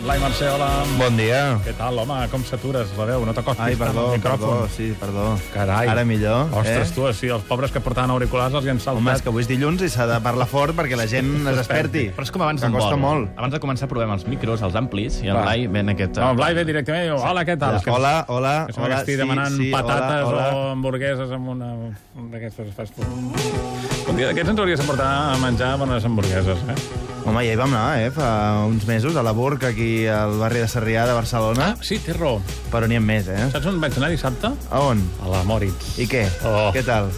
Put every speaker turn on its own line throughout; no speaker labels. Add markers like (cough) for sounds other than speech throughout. Blai Mercè, hola.
Bon dia.
Què tal, home? Com s'atures? La veu, no t'acostis
Ai,
tant al
perdó,
micròfon.
perdó, sí, perdó.
Carai.
Ara millor,
Ostres,
eh?
tu, sí, els pobres que portaven auriculars els hi han saltat.
Home, és que avui és dilluns i s'ha de parlar fort perquè la gent es desperti.
Però és com abans
Que
d'un
costa
vol.
molt.
Abans de començar provem els micros, els amplis, i el
Va.
Blai ven aquest...
No, el Blai ve directament i diu, hola, què tal?
Ja,
És que-
hola, hola,
Que sembla
hola.
que estigui demanant
sí,
patates
hola,
o
hola.
hamburgueses amb una un d'aquestes fast food. Un dia d'aquests ens hauries de portar a menjar bones hamburgueses, eh?
Home, ja hi vam anar, eh, fa uns mesos, a la Burg, aquí al barri de Sarrià de Barcelona,
Sí, té raó.
però n'hi ha més, eh?
Saps on vaig anar dissabte?
A on?
A la Moritz.
I què?
Oh.
Què tal?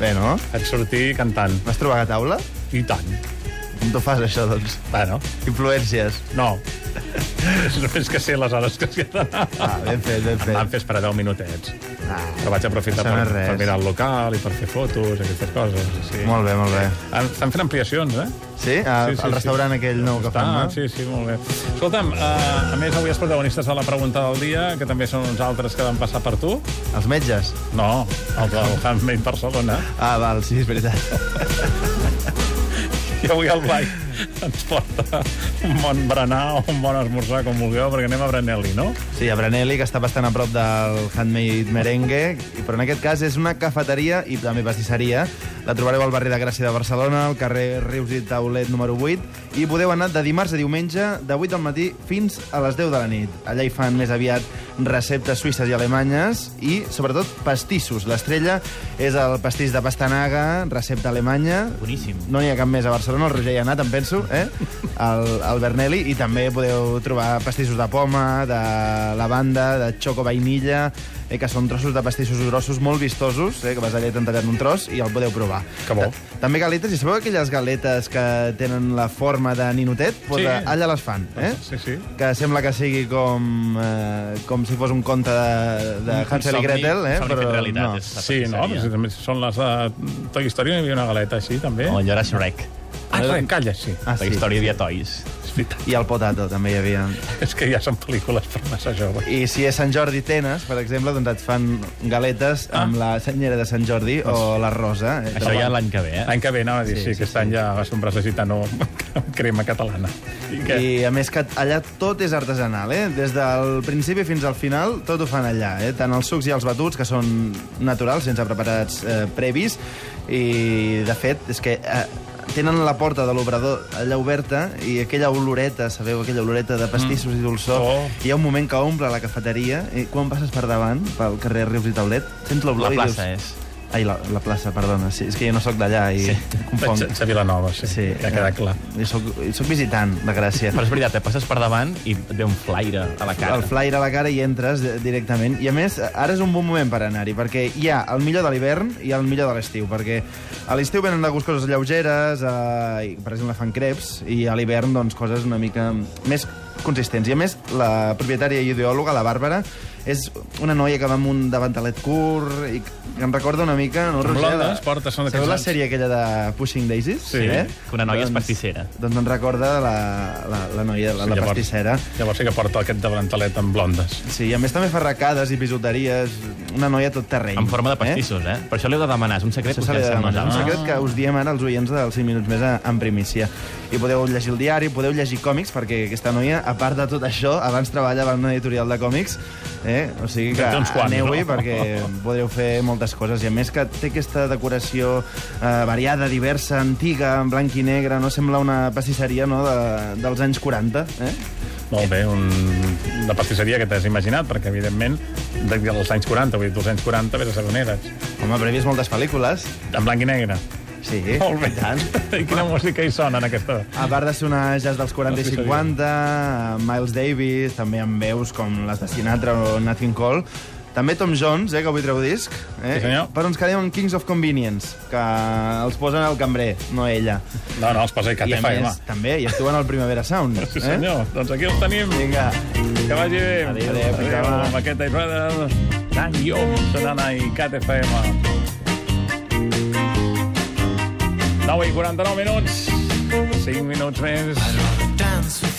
Bé, no?
Vaig sortir cantant.
Vas trobar a taula?
I tant.
Com t'ho fas, això, doncs?
Bueno,
Influències.
no. (laughs) és que sé les hores que es queden.
Ah, ben fet, ben
Em van
fet.
fer esperar 10 minutets.
Ah,
Però vaig aprofitar
Això no
per,
és res.
per mirar el local i per fer fotos, aquestes coses. Sí.
molt bé, molt bé.
En- Estan fent ampliacions, eh?
Sí? Al,
Sí, sí,
al restaurant aquell nou que
Està,
fan, no?
sí, sí, molt bé. Escolta'm, eh, a més, avui els protagonistes de la pregunta del dia, que també són uns altres que van passar per tu.
Els metges?
No, el del Handmade Barcelona.
Ah, val, sí, és veritat.
I avui el
(laughs)
Blai ens porta un bon berenar o un bon esmorzar, com vulgueu, perquè anem a Branelli, no?
Sí, a Branelli, que està bastant a prop del Handmade Merengue, i- però en aquest cas és una cafeteria i també pastisseria. La trobareu al barri de Gràcia de Barcelona, al carrer Rius i Taulet número 8, i podeu anar de dimarts a diumenge, de 8 del matí fins a les 10 de la nit. Allà hi fan més aviat receptes suïsses i alemanyes i, sobretot, pastissos. L'estrella és el pastís de pastanaga, recepta alemanya,
Boníssim.
No n'hi ha cap més a Barcelona, el Roger hi ha anat, em penso, eh? El, el Bernelli, i també podeu trobar pastissos de poma, de lavanda, de xoco vainilla, eh, que són trossos de pastissos grossos molt vistosos, eh, que vas allà i t'han tallat un tros i el podeu provar.
Que bo.
Ta- També galetes, i sabeu aquelles galetes que tenen la forma de ninotet? Pues
Sí.
eh, Allà les fan, eh?
Doncs.
Sí, sí.
que sembla que sigui com, eh, com si fos un conte de, de
Un
Hansel i
somni-
Gretel, eh?
somni fet realitat,
no.
és-
Sí, no, però si també són les de Toy Story, hi havia una galeta així, també.
O allò era Shrek.
Ah, clar, calla, sí.
Ah,
la
sí.
història de Toys.
És veritat.
I el potato també hi havia.
És que ja són pel·lícules per massa jove.
I si és Sant Jordi Tenes, per exemple, doncs et fan galetes
Ah.
amb la senyera de Sant Jordi o la rosa. Eh?
Això ja l'any que ve, eh?
L'any que ve anava a dir, sí, sí,
sí,
aquest any ja va ser un braç de gitano amb crema catalana. I què?
I a més que allà tot és artesanal, eh? Des del principi fins al final tot ho fan allà, eh? Tant els sucs i els batuts, que són naturals, sense preparats eh, previs, i de fet és que eh, tenen la porta de l'obrador allà oberta i aquella oloreta, sabeu, aquella oloreta de pastissos mm. i dolçor,
Oh.
hi ha un moment que omple la cafeteria i quan passes per davant, pel carrer Rius i Taulet, sents
La
l'olor i dius...
plaça és...
Ai, la, la plaça, perdona. Sí, és que jo no sóc d'allà i sí. confonc.
Vaig a Vilanova, sí, sí. ja queda clar.
Jo sóc, sóc visitant, de Gràcia.
Però és veritat, et passes per davant i et ve un flaire a la cara.
El flaire a la cara i entres eh, directament. I a més, ara és un bon moment per anar-hi, perquè hi ha el millor de l'hivern i el millor de l'estiu, perquè a l'estiu venen de gust coses lleugeres, eh, i, per exemple, fan creps, i a l'hivern, doncs, coses una mica més consistents. I a més, la propietària i ideòloga, la Bàrbara, és una noia que va amb un davantalet curt i que em recorda una mica... No, Roger,
blondes,
la-
porta, són
Sabeu
d'aquests
la
anys.
sèrie aquella de Pushing Daisies? eh?
Sí,
que una noia és pastissera.
Doncs em recorda la, la, la noia, la, la pastissera.
Llavors sí que porta aquest davantalet amb blondes.
Sí, i a més també fa arracades i bisuteries, una noia tot terreny.
En forma de pastissos, eh? Per això l'heu de demanar, és un secret
Això
que us
se li ha de
llancem
demanar. Un
nosaltres.
secret que us diem ara als oients dels 5 minuts més a- en primícia. I podeu llegir el diari, podeu llegir còmics, perquè aquesta noia, a part de tot això, abans treballava en una editorial de còmics, eh? o sigui que
Ja té uns quants,
aneu-hi,
no?
perquè podreu fer moltes coses. I a més que té aquesta decoració eh, variada, diversa, antiga, en blanc i negre, no sembla una pastisseria no? de, dels anys 40, eh?
Molt bé, un, una pastisseria que t'has imaginat, perquè, evidentment, de- dels anys 40, vull dir, dels anys 40, vés a saber on eres.
Home, però he vist moltes pel·lícules.
En blanc i negre.
Sí,
Molt bé.
i tant.
(laughs) I quina música hi sona, en aquesta...
A part de ser una jazz dels 40 i
Sí, sí, sí.
50, Miles Davis, també amb veus com les de Sinatra o Nat King Cole, també Tom Jones, eh, que avui treu disc. Eh?
Sí, senyor.
Però ens quedem amb Kings of Convenience, que els posen al cambrer, no ella.
No, no, els posa i
I a
Cate
més,
Fai, home.
també, i actuen al Primavera Sound. eh?
Sí, senyor. Doncs aquí els tenim.
Vinga.
Que vagi bé.
Adéu, fins
Adéu.
demà.
Maqueta i Brothers. Dan Yo, Serana i Cat FM. 9 i 49 minuts. 5 minuts més.
Dance with